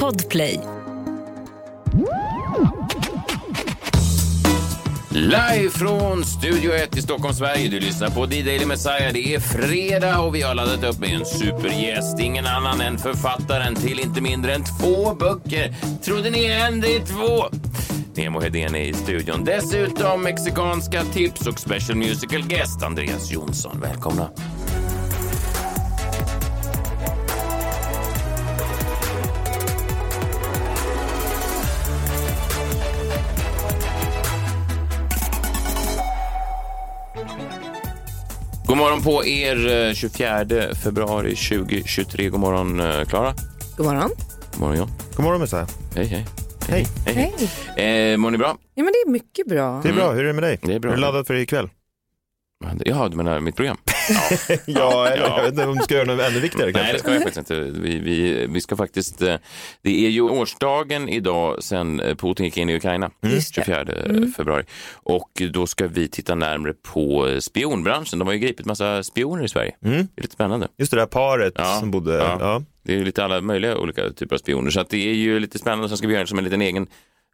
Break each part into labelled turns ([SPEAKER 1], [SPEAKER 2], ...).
[SPEAKER 1] Podplay.
[SPEAKER 2] Live från Studio 1 i Stockholm, Sverige. Du lyssnar på D-Daily Messiah. Det är fredag och vi har laddat upp med en supergäst. Ingen annan än författaren till inte mindre än två böcker. Trodde ni en, det är två. Nemo Hedén är i studion. Dessutom mexikanska tips och special musical guest Andreas Jonsson. Välkomna. God morgon på er eh, 24 februari 2023. God morgon eh, Klara.
[SPEAKER 3] God morgon.
[SPEAKER 2] God morgon John.
[SPEAKER 4] God morgon Messiah.
[SPEAKER 2] Hej, hej.
[SPEAKER 4] Hej.
[SPEAKER 2] hej. hej. Eh, mår ni bra?
[SPEAKER 3] Ja, men det är mycket bra.
[SPEAKER 4] Det är bra, hur är Mm. det med dig?
[SPEAKER 2] Det är bra.
[SPEAKER 4] Är du laddad för ikväll?
[SPEAKER 2] Jaha, du menar mitt program?
[SPEAKER 4] ja, eller jag vet inte om du ska göra något ännu viktigare
[SPEAKER 2] Nej, det
[SPEAKER 4] kanske.
[SPEAKER 2] ska jag faktiskt inte. Vi, vi, vi ska faktiskt... eh, Det är ju årsdagen idag sen eh, Putin gick in i Ukraina, 24 februari. Och då ska vi titta närmre på eh, spionbranschen. De har ju gripit massa spioner i Sverige. Det är lite spännande.
[SPEAKER 4] Just det där paret
[SPEAKER 2] Ja,
[SPEAKER 4] som bodde,
[SPEAKER 2] ja.
[SPEAKER 4] ja.
[SPEAKER 2] Det är ju lite alla möjliga olika typer av spioner. Så att det är ju lite spännande. Sen ska vi göra det som en liten egen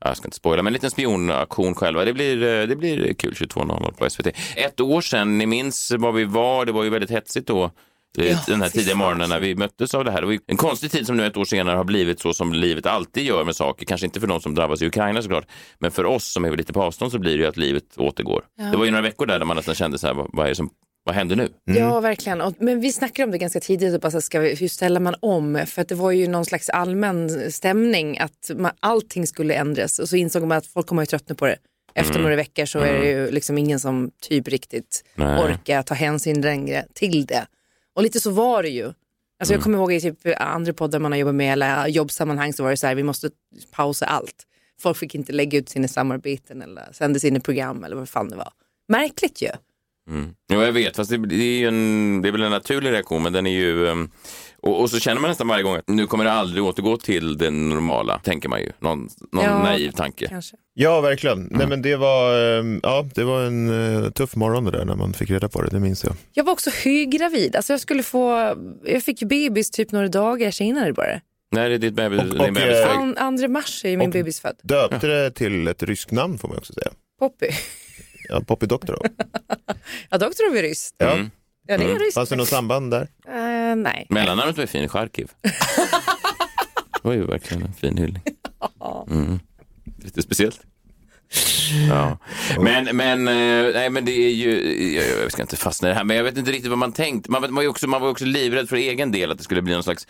[SPEAKER 2] ja, jag ska inte spoila, men en liten spionaktion själva. Det blir, eh, det blir kul 22.00 på SVT. Ett år sedan, ni minns var vi var, det var ju väldigt hetsigt då. eh,
[SPEAKER 3] Ja,
[SPEAKER 2] den här
[SPEAKER 3] fy
[SPEAKER 2] tidiga
[SPEAKER 3] fan.
[SPEAKER 2] morgonen när vi möttes av det här. Det var ju en konstig tid som nu ett år senare har blivit så som livet alltid gör med saker. Kanske inte för de som drabbas i Ukraina såklart, men för oss som är lite på avstånd så blir det ju att livet återgår. Det var ju några veckor där, där man nästan kände så här, vad, vad, är det som, vad händer nu?
[SPEAKER 3] Ja, verkligen. Och, men vi snackade om det ganska tidigt, och bara, så här, ska vi, hur ställer man om? För att det var ju någon slags allmän stämning att man, allting skulle ändras och så insåg man att folk kommer ju tröttna på det. Efter några veckor så är det ju liksom ingen som typ riktigt
[SPEAKER 2] Nej.
[SPEAKER 3] orkar ta hänsyn längre till det. Och lite så var det ju. Alltså Jag kommer ihåg i typ andra poddar man har jobbat med eller jobbsammanhang så var det så här, vi måste pausa allt. Folk fick inte lägga ut sina samarbeten eller sända sina program eller vad fan det var. Märkligt ju.
[SPEAKER 2] Ja, jag vet, fast det, det, är ju en, det är väl en naturlig reaktion, men den är ju... ehm, och, och så känner man nästan varje gång att nu kommer det aldrig återgå till det normala, tänker man ju. Någon, någon
[SPEAKER 3] Ja,
[SPEAKER 2] naiv tanke.
[SPEAKER 3] Kanske.
[SPEAKER 4] ja, verkligen. Nej, men det var, eh, ja, det var en eh, tuff morgon det där när man fick reda på det, det minns jag.
[SPEAKER 3] Jag var också hygravid. Alltså jag, skulle få, jag fick ju bebis typ några dagar senare bara.
[SPEAKER 2] När är ditt bebis,
[SPEAKER 4] Och- och,
[SPEAKER 2] din bebis
[SPEAKER 4] eh,
[SPEAKER 2] född?
[SPEAKER 3] An, andra mars är ju min
[SPEAKER 4] Och-
[SPEAKER 3] bebis född.
[SPEAKER 4] Döpte det till ett ryskt namn får man också säga.
[SPEAKER 3] Poppy.
[SPEAKER 4] Ja, Poppy Doctorow.
[SPEAKER 3] Ja, då tror vi ryss.
[SPEAKER 4] Ja.
[SPEAKER 2] Mm.
[SPEAKER 3] Ja, det är ryss.
[SPEAKER 4] Fanns det något samband där?
[SPEAKER 3] Eh, nej.
[SPEAKER 2] Mellannamnet var ju fin, Charkiv. det var ju verkligen en fin hyllning. Mm. Lite speciellt. Ja. Men, men, eh, nej, men det är ju, jag, jag ska inte fastna i det här, men jag vet inte riktigt vad man tänkt. Man, vet- man, var ju också, man var ju också livrädd för egen del att det skulle bli någon slags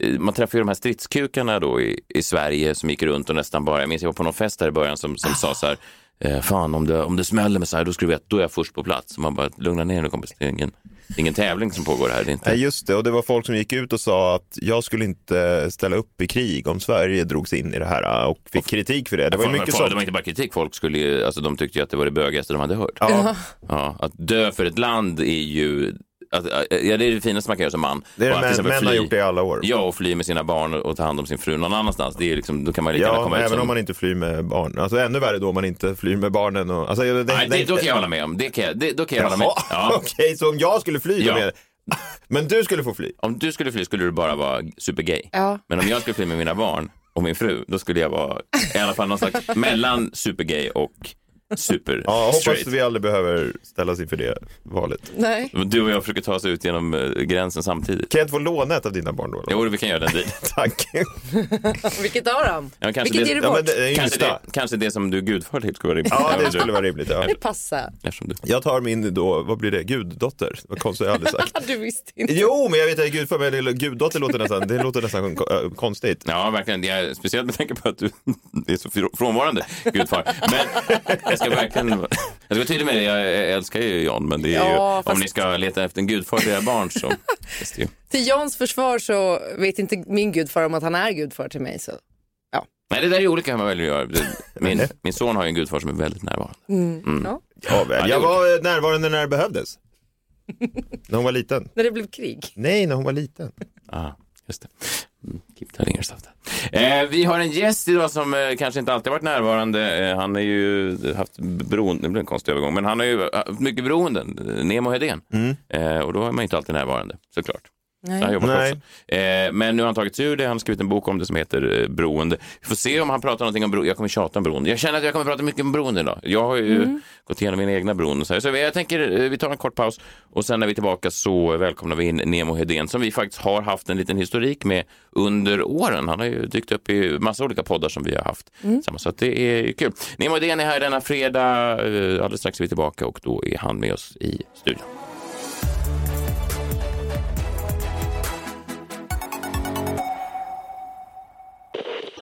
[SPEAKER 2] eh, man träffade ju de här stridskukarna då i, i Sverige som gick runt och nästan bara, jag minns jag var på någon fest där i början som, som sa så här, eh, fan om det, om det smäller med så här då ska du veta, då är jag först på plats. Och man bara, lugna ner nu kompis, det är ingen, det är ingen tävling som pågår här. Det är inte...
[SPEAKER 4] Nej, just det. Och det var folk som gick ut och sa att jag skulle inte ställa upp i krig om Sverige drogs in i det här ah, och fick kritik för det. Det var ju
[SPEAKER 2] Folk-
[SPEAKER 4] mycket
[SPEAKER 2] folk- Det var
[SPEAKER 4] sånt.
[SPEAKER 2] inte bara kritik, folk skulle ju, alltså de tyckte ju att det var det bögigaste de hade hört.
[SPEAKER 4] Ja,
[SPEAKER 2] Ja, att dö för ett land är ju, att, eh, ja det är det finaste man kan göra som man.
[SPEAKER 4] det
[SPEAKER 2] Och att till
[SPEAKER 4] är det
[SPEAKER 2] exempel
[SPEAKER 4] män, män har
[SPEAKER 2] fly-
[SPEAKER 4] gjort det i alla år.
[SPEAKER 2] Ja, och fly med sina barn och ta hand om sin fru någon annanstans. Det är ju liksom, då kan man ju lika gärna
[SPEAKER 4] Ja,
[SPEAKER 2] komma ut
[SPEAKER 4] även
[SPEAKER 2] som...
[SPEAKER 4] om man inte flyr med barn. Alltså ännu värre då om man inte flyr med barnen. Och, alltså, det,
[SPEAKER 2] Nej, det, då kan jag hålla med om. Det kan jag, det, då kan jag hålla med.
[SPEAKER 4] Jaha,
[SPEAKER 2] Ja.
[SPEAKER 4] okej, så om jag skulle fly då
[SPEAKER 2] Ja.
[SPEAKER 4] med... Men du skulle få fly.
[SPEAKER 2] Om du skulle fly skulle du bara vara supergay.
[SPEAKER 3] Ja.
[SPEAKER 2] Men om jag skulle fly med mina barn och min fru, då skulle jag vara i alla fall någon slags mellan supergay och super
[SPEAKER 4] Ja, hoppas
[SPEAKER 2] straight.
[SPEAKER 4] vi aldrig behöver ställas inför det valet.
[SPEAKER 3] Nej.
[SPEAKER 2] Du och jag försöker ta oss ut genom eh, gränsen samtidigt.
[SPEAKER 4] Kan jag inte få låna ett av dina barn då? eller?
[SPEAKER 2] Jo, vi kan göra den dealen.
[SPEAKER 4] Tack.
[SPEAKER 3] Vilket av dem?
[SPEAKER 2] Ja, kanske
[SPEAKER 3] Vilket
[SPEAKER 2] det-
[SPEAKER 3] ger du
[SPEAKER 4] Ja, men
[SPEAKER 3] bort?
[SPEAKER 4] det
[SPEAKER 3] det...
[SPEAKER 4] är
[SPEAKER 2] Kanske det,
[SPEAKER 4] yngsta.
[SPEAKER 2] kanske det som du är gudfar till skulle vara rimligt.
[SPEAKER 4] Ja, det
[SPEAKER 2] Även
[SPEAKER 4] skulle
[SPEAKER 2] du,
[SPEAKER 4] vara rimligt. Ja.
[SPEAKER 3] passar.
[SPEAKER 2] eftersom du.
[SPEAKER 4] Jag tar min då, vad blir det, guddotter? Vad konstigt, jag har aldrig sagt.
[SPEAKER 3] Du visste inte.
[SPEAKER 4] Jo, men jag vet att jag är gudfar, men lilla guddotter låter nästan, det låter nästan kon- äh, konstigt.
[SPEAKER 2] Ja, verkligen. Det är, speciellt med tanke på att du är så frå- frånvarande gudfar. Men jag ska verkligen jag ska vara tydlig med det. Jag älskar ju Jan, men det är ju,
[SPEAKER 3] Ja,
[SPEAKER 2] om
[SPEAKER 3] fast-
[SPEAKER 2] ni ska leta efter en gudfar till era barn så... Visst ju.
[SPEAKER 3] Till Jans försvar så vet inte min gudfar om att han är gudfar till mig. Så.
[SPEAKER 2] Nej, det där är olika hur man väljer att göra. Det- Min, min son har ju en gudfar som är väldigt närvarande. Mm.
[SPEAKER 3] Ja.
[SPEAKER 4] Ja, väl.
[SPEAKER 2] det
[SPEAKER 4] Jag
[SPEAKER 2] gjorde-
[SPEAKER 4] var eh, närvarande när det behövdes. När hon var liten.
[SPEAKER 3] När det blev krig.
[SPEAKER 4] Nej, när hon var liten.
[SPEAKER 2] Ah, just det. Mm, Keep that in your stuff. Eh, vi har en gäst idag som eh, kanske inte alltid varit närvarande. Eh, han har ju haft beroende, det blev en konstig övergång, men han har ju haft mycket beroenden. Eh, Nemo Hedén. Eh, och då är man ju inte alltid närvarande, såklart. Så Han
[SPEAKER 3] Nej.
[SPEAKER 2] jobbar
[SPEAKER 4] Nej.
[SPEAKER 2] också. Eh, men nu har han tagit sig ur det. Han har skrivit en bok om det som heter eh, Beroende. Vi får se om han pratar någonting om beroende. Jag kommer tjata om beroende. Jag känner att jag kommer prata mycket om beroende idag. Jag har ju gått igenom mina egna beroenden. Så, här. så jag tänker eh, vi tar en kort paus och sen när vi är tillbaka så välkomnar vi in Nemo Hedén som vi faktiskt har haft en liten historik med under åren. Han har ju dykt upp i massa olika poddar som vi har haft. tillsammans. Så att det är kul. Nemo Hedén är här denna fredag. Eh, Alldeles strax är vi tillbaka och då är han med oss i studion.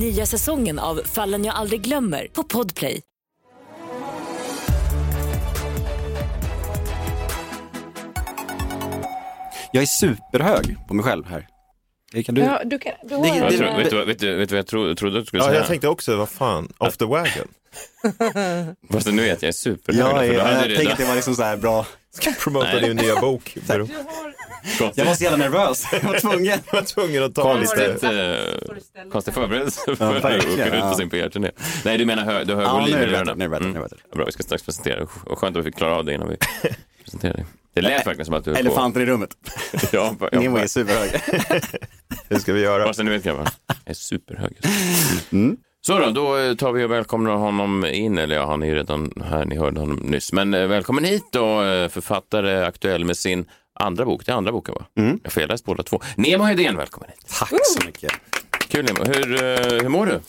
[SPEAKER 1] Nya säsongen av Fallen jag aldrig glömmer på Podplay.
[SPEAKER 5] Jag är superhög på mig själv här. Det kan du...
[SPEAKER 3] Ja, du kan, du har
[SPEAKER 5] Det-
[SPEAKER 3] en-
[SPEAKER 2] Jag
[SPEAKER 5] det-
[SPEAKER 2] tror, vet, du, vad- vet, du, vet du vad jag tro, trodde att du skulle
[SPEAKER 4] Ja,
[SPEAKER 2] säga?
[SPEAKER 4] jag tänkte också, vad fan, off the wagon.
[SPEAKER 2] Fast nu vet jag är supernöjd.
[SPEAKER 5] jag,
[SPEAKER 2] för
[SPEAKER 5] är,
[SPEAKER 2] då hade
[SPEAKER 5] jag
[SPEAKER 2] det
[SPEAKER 5] tänkte att
[SPEAKER 2] redan
[SPEAKER 5] det var liksom så här bra.
[SPEAKER 4] Ska promota din nya bok. Bero-
[SPEAKER 2] gått.
[SPEAKER 5] Jag var så jävla nervös. Jag var tvungen.
[SPEAKER 4] Jag var tvungen att ta lite.
[SPEAKER 2] Konstigt, eh, konstig förberedelse för att
[SPEAKER 5] verkligen,
[SPEAKER 2] åka ut på
[SPEAKER 5] ja.
[SPEAKER 2] sin PR-turné. Nej, du menar hö, du har hög
[SPEAKER 5] Ja,
[SPEAKER 2] volym i
[SPEAKER 5] nu är det bättre,
[SPEAKER 2] rören.
[SPEAKER 5] nu är det bättre,
[SPEAKER 2] Mm.
[SPEAKER 5] nu är det bättre.
[SPEAKER 2] Bra, vi ska strax presentera. Och skönt att vi fick klara av det innan vi presenterar dig. Det lät verkligen som att du höll
[SPEAKER 5] Elefanten i rummet.
[SPEAKER 2] på. Ja, ja,
[SPEAKER 5] Nemo är superhög.
[SPEAKER 4] Hur ska vi göra?
[SPEAKER 2] Bara så ni vet grabbar, jag är superhög.
[SPEAKER 5] Mm.
[SPEAKER 2] Så då, då eh, tar vi och välkomnar honom in, eller ja, han är ju redan här, ni hörde honom nyss. Men eh, välkommen hit då, eh, författare, aktuell med sin andra bok, det är andra boken va? Mm. Jag har felläst båda två. Nemo Hedén, välkommen hit.
[SPEAKER 5] Tack så mycket.
[SPEAKER 2] Kul Nemo, hur, eh, hur mår du?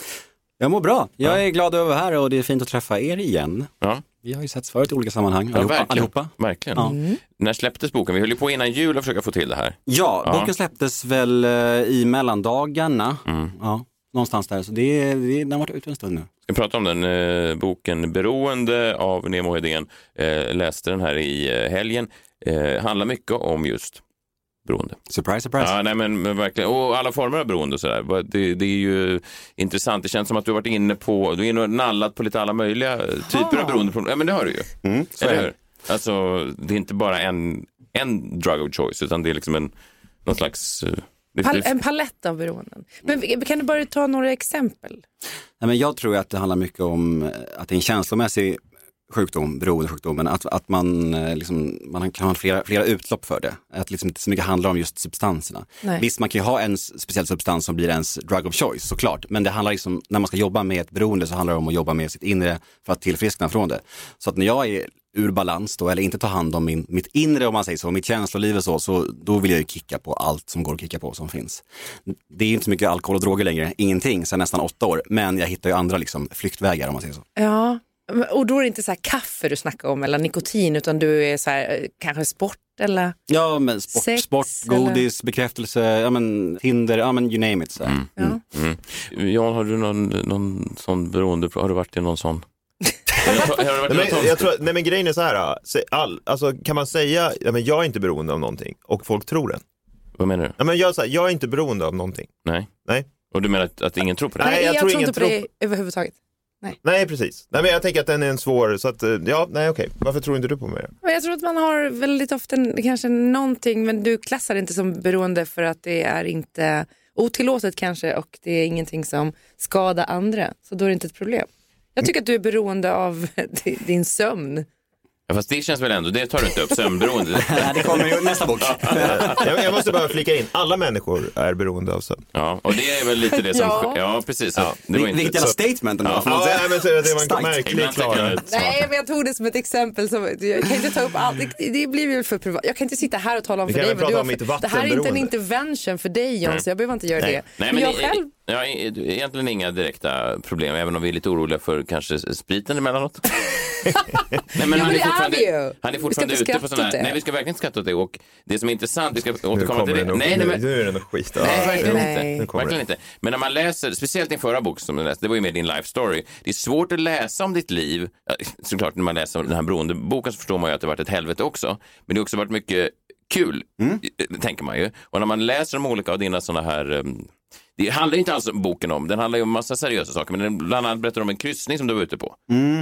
[SPEAKER 5] Jag mår bra. Jag är glad över att vara här och det är fint att träffa er igen.
[SPEAKER 2] Ja.
[SPEAKER 5] Vi har ju setts förut i olika sammanhang,
[SPEAKER 2] Ja,
[SPEAKER 5] allihopa.
[SPEAKER 2] verkligen.
[SPEAKER 5] allihopa.
[SPEAKER 2] Verkligen.
[SPEAKER 5] Ja.
[SPEAKER 2] När släpptes boken? Vi höll ju på innan jul att försöka få till det här.
[SPEAKER 5] Ja,
[SPEAKER 2] Ja.
[SPEAKER 5] boken släpptes väl eh, i mellandagarna. Ja, någonstans där, så det, det, den har varit ute en stund nu.
[SPEAKER 2] Vi pratade om den, eh, boken Beroende av Nemo Hedén. Eh, läste den här i eh, helgen. Eh, handlar mycket om just beroende.
[SPEAKER 5] Surprise, surprise.
[SPEAKER 2] Ja, nej, men, men verkligen. Och alla former av beroende och sådär. Vad- Det, det är ju intressant. Det känns som att du har varit inne på, du är inne och nallat på lite alla möjliga eh, typer av beroendeproblem. Ja, men det har du ju.
[SPEAKER 5] Mm, så är
[SPEAKER 2] Eller
[SPEAKER 5] det.
[SPEAKER 2] hur? Alltså, det är inte bara en, en drug of choice, utan det är liksom en, någon slags... eh, det-
[SPEAKER 3] Pal
[SPEAKER 2] det-
[SPEAKER 3] en palett av beroenden. Men vi- kan du bara ta några exempel?
[SPEAKER 5] Nej, men jag tror att det handlar mycket om eh, att det är en känslomässig sjukdom, beroendesjukdomen, att, att man, eh, liksom, man kan ha flera, flera utlopp för det. Att liksom inte så mycket handlar om just substanserna.
[SPEAKER 3] Nej.
[SPEAKER 5] Visst, man kan ju ha en s- speciell substans som blir ens drug of choice såklart, men det handlar liksom, när man ska jobba med ett beroende så handlar det om att jobba med sitt inre för att tillfriskna från det. Så att när jag är ur balans då, eller inte tar hand om min, mitt inre om man säger så, mitt känsloliv och så, så då vill jag ju kicka på allt som går att kicka på som finns. Det är ju inte så mycket alkohol och droger längre, ingenting, sedan nästan åtta år, men jag hittar ju andra liksom, flyktvägar om man säger så.
[SPEAKER 3] Ja, men- och då är det inte så här kaffe du snackar om eller nikotin utan du är så här, eh, kanske sport
[SPEAKER 4] Mm.
[SPEAKER 3] eller?
[SPEAKER 5] Ja, men sport,
[SPEAKER 3] Sex,
[SPEAKER 5] sport godis, bekräftelse, ja, men, Tinder, ja, men you name it. Så. här.
[SPEAKER 3] Ja.
[SPEAKER 2] Mm. Jan, har du någon, någon sån beroende, har du varit i någon sån? Har du varit i någon
[SPEAKER 4] Nej
[SPEAKER 2] sån?
[SPEAKER 4] men, jag tror, nej men grejen är så här, ah, se- all, alltså, kan man säga, ja, men jag är inte beroende av någonting och folk tror det.
[SPEAKER 2] Vad menar du?
[SPEAKER 4] Ja, men jag, så här, jag är inte beroende av någonting.
[SPEAKER 2] Nej.
[SPEAKER 4] Nej.
[SPEAKER 2] Och du menar att, att ingen tror på det?
[SPEAKER 4] Nej, jag tror ingen
[SPEAKER 3] inte på
[SPEAKER 4] tror
[SPEAKER 3] det överhuvudtaget.
[SPEAKER 4] Nej precis, nej men jag tänker att den är en svår, så att eh, ja, nej okej, varför tror inte du på mig då?
[SPEAKER 3] Men jag tror att man har väldigt ofta en- kanske någonting, men du klassar det inte som beroende för att det är inte otillåtet kanske och det är ingenting som skadar andra, så då är det inte ett problem. Jag tycker att du är beroende av di- din sömn.
[SPEAKER 2] Ja, fast det känns väl ändå, det tar du inte upp, sömnberoende.
[SPEAKER 5] Nej, det kommer ju nästa bok.
[SPEAKER 4] Jag, jag måste bara flika in, alla människor är beroende av sömn.
[SPEAKER 2] Ja, och det är väl lite det som...
[SPEAKER 3] Ja.
[SPEAKER 2] Ja, precis. Det var
[SPEAKER 5] Vil-
[SPEAKER 2] inte...
[SPEAKER 5] Vilket jävla statement ändå. får man
[SPEAKER 4] Ja,
[SPEAKER 5] säga.
[SPEAKER 4] nej, men så, det var en
[SPEAKER 5] Starkt.
[SPEAKER 4] märklig
[SPEAKER 2] Ibland tycker jag
[SPEAKER 4] klara.
[SPEAKER 2] att-
[SPEAKER 3] Nej, men jag tog det som ett exempel. Som, jag kan inte ta upp allt. Det, det blir väl för privat. Jag kan inte sitta här och tala om
[SPEAKER 4] Vi
[SPEAKER 3] för
[SPEAKER 4] kan
[SPEAKER 3] dig.
[SPEAKER 4] väl
[SPEAKER 3] vad du
[SPEAKER 4] prata
[SPEAKER 3] har för-
[SPEAKER 4] om mitt
[SPEAKER 3] det här är inte en
[SPEAKER 4] vattenberoende.
[SPEAKER 3] intervention för dig, John, så jag behöver inte göra det.
[SPEAKER 2] Nej,
[SPEAKER 3] men jag
[SPEAKER 2] i-
[SPEAKER 3] själv,
[SPEAKER 2] Ja, i- du- egentligen inga direkta problem, även om vi är lite oroliga för kanske spriten emellanåt. nej,
[SPEAKER 3] men det är
[SPEAKER 2] fortfarande,
[SPEAKER 3] vi ju.
[SPEAKER 2] han är
[SPEAKER 3] Vi ska
[SPEAKER 2] fortfarande
[SPEAKER 3] inte
[SPEAKER 2] ute
[SPEAKER 3] skratta
[SPEAKER 2] på
[SPEAKER 3] åt
[SPEAKER 2] sådana
[SPEAKER 3] det.
[SPEAKER 2] här... Nej, vi ska verkligen inte skratta åt det. Och det som är intressant, vi ska
[SPEAKER 4] Nu
[SPEAKER 2] återkomma till
[SPEAKER 4] kommer
[SPEAKER 2] det.
[SPEAKER 4] det nog,
[SPEAKER 2] nej, nej, men,
[SPEAKER 4] nu är det nog skit.
[SPEAKER 2] Nej,
[SPEAKER 4] Ja.
[SPEAKER 2] verkligen
[SPEAKER 3] nej.
[SPEAKER 4] Nu
[SPEAKER 2] inte.
[SPEAKER 4] kommer
[SPEAKER 2] Verkligen inte. Men när man läser, speciellt din förra bok som du läste, det var ju mer din life story. Det är svårt att läsa om ditt liv. Ja, Såklart när man läser den här beroendeboken så förstår man ju att det varit ett helvete också. Men det har också varit
[SPEAKER 4] Mm.
[SPEAKER 2] mycket kul, eh, tänker man ju. Och när man läser de olika av dina sådana här eh, Det handlar inte alls om boken om, den handlar ju om massa seriösa saker, men den bland annat berättar om en kryssning som du var ute på.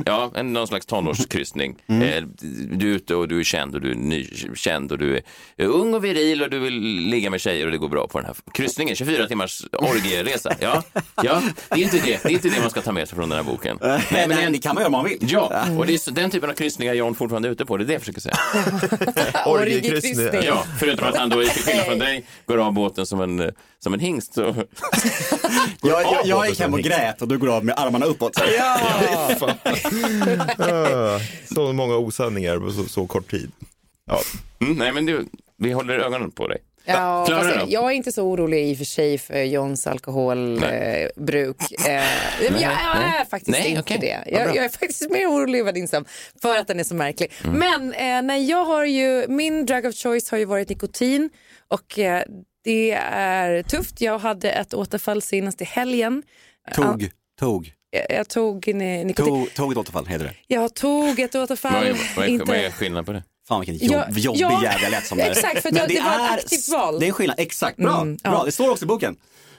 [SPEAKER 2] Ja, en, någon slags tonårskryssning. Eh, du är ute och du är känd och du är nykänd och du är eh, ung och viril och du vill ligga med tjejer och det går bra på den här kryssningen. 24 timmars orgieresa. Ja, ja. Det, är inte det. det är inte det man ska ta med sig från den här boken.
[SPEAKER 5] Nej, men det kan man göra om man vill.
[SPEAKER 2] Ja, och det är så- den typen av kryssningar John fortfarande är ute på, det är det jag försöker säga.
[SPEAKER 3] Orgiekryssning.
[SPEAKER 2] Ja, förutom att han då, till skillnad från dig, går av båten som en, eh, som en hingst. Så.
[SPEAKER 5] Jag, jag, jag gick
[SPEAKER 4] båten
[SPEAKER 5] hem och
[SPEAKER 4] som
[SPEAKER 5] grät och du går av med armarna uppåt.
[SPEAKER 4] Ah, Så många osanningar på så, så kort tid. Ja.
[SPEAKER 2] Mm, nej, men du, vi håller ögonen på dig.
[SPEAKER 3] Ja,
[SPEAKER 2] Klara
[SPEAKER 3] fast
[SPEAKER 2] då?
[SPEAKER 3] jag är inte så orolig i och för sig för Johns alkoholbruk. Eh, nej, men jag är faktiskt
[SPEAKER 2] Nej,
[SPEAKER 3] inte
[SPEAKER 2] okej.
[SPEAKER 3] det. Jag, jag är faktiskt mer orolig över din sömn för att den är så märklig.
[SPEAKER 2] Mm.
[SPEAKER 3] Men eh, nej, jag har ju, min drug of choice har ju varit nikotin och eh, det är tufft. Jag hade ett återfall senast i helgen.
[SPEAKER 5] Tog, tog,
[SPEAKER 3] Jag, jag tog ni- nikotin.
[SPEAKER 5] tog, tog ett återfall heter det.
[SPEAKER 3] Jag tog ett
[SPEAKER 2] Vad
[SPEAKER 3] återfall.
[SPEAKER 2] är, vad är, vad är
[SPEAKER 3] Äh, inte...
[SPEAKER 2] skillnaden på det?
[SPEAKER 5] Fan vilken
[SPEAKER 3] Ja,
[SPEAKER 5] jobb, jobbig
[SPEAKER 3] ja,
[SPEAKER 5] jävel jag lät som det är.
[SPEAKER 3] exakt, för att
[SPEAKER 5] Men
[SPEAKER 3] jag- det var ett aktivt val.
[SPEAKER 5] Det är en skillnad, exakt. Bra,
[SPEAKER 3] Mm,
[SPEAKER 5] bra.
[SPEAKER 3] ja.
[SPEAKER 5] det står också i boken.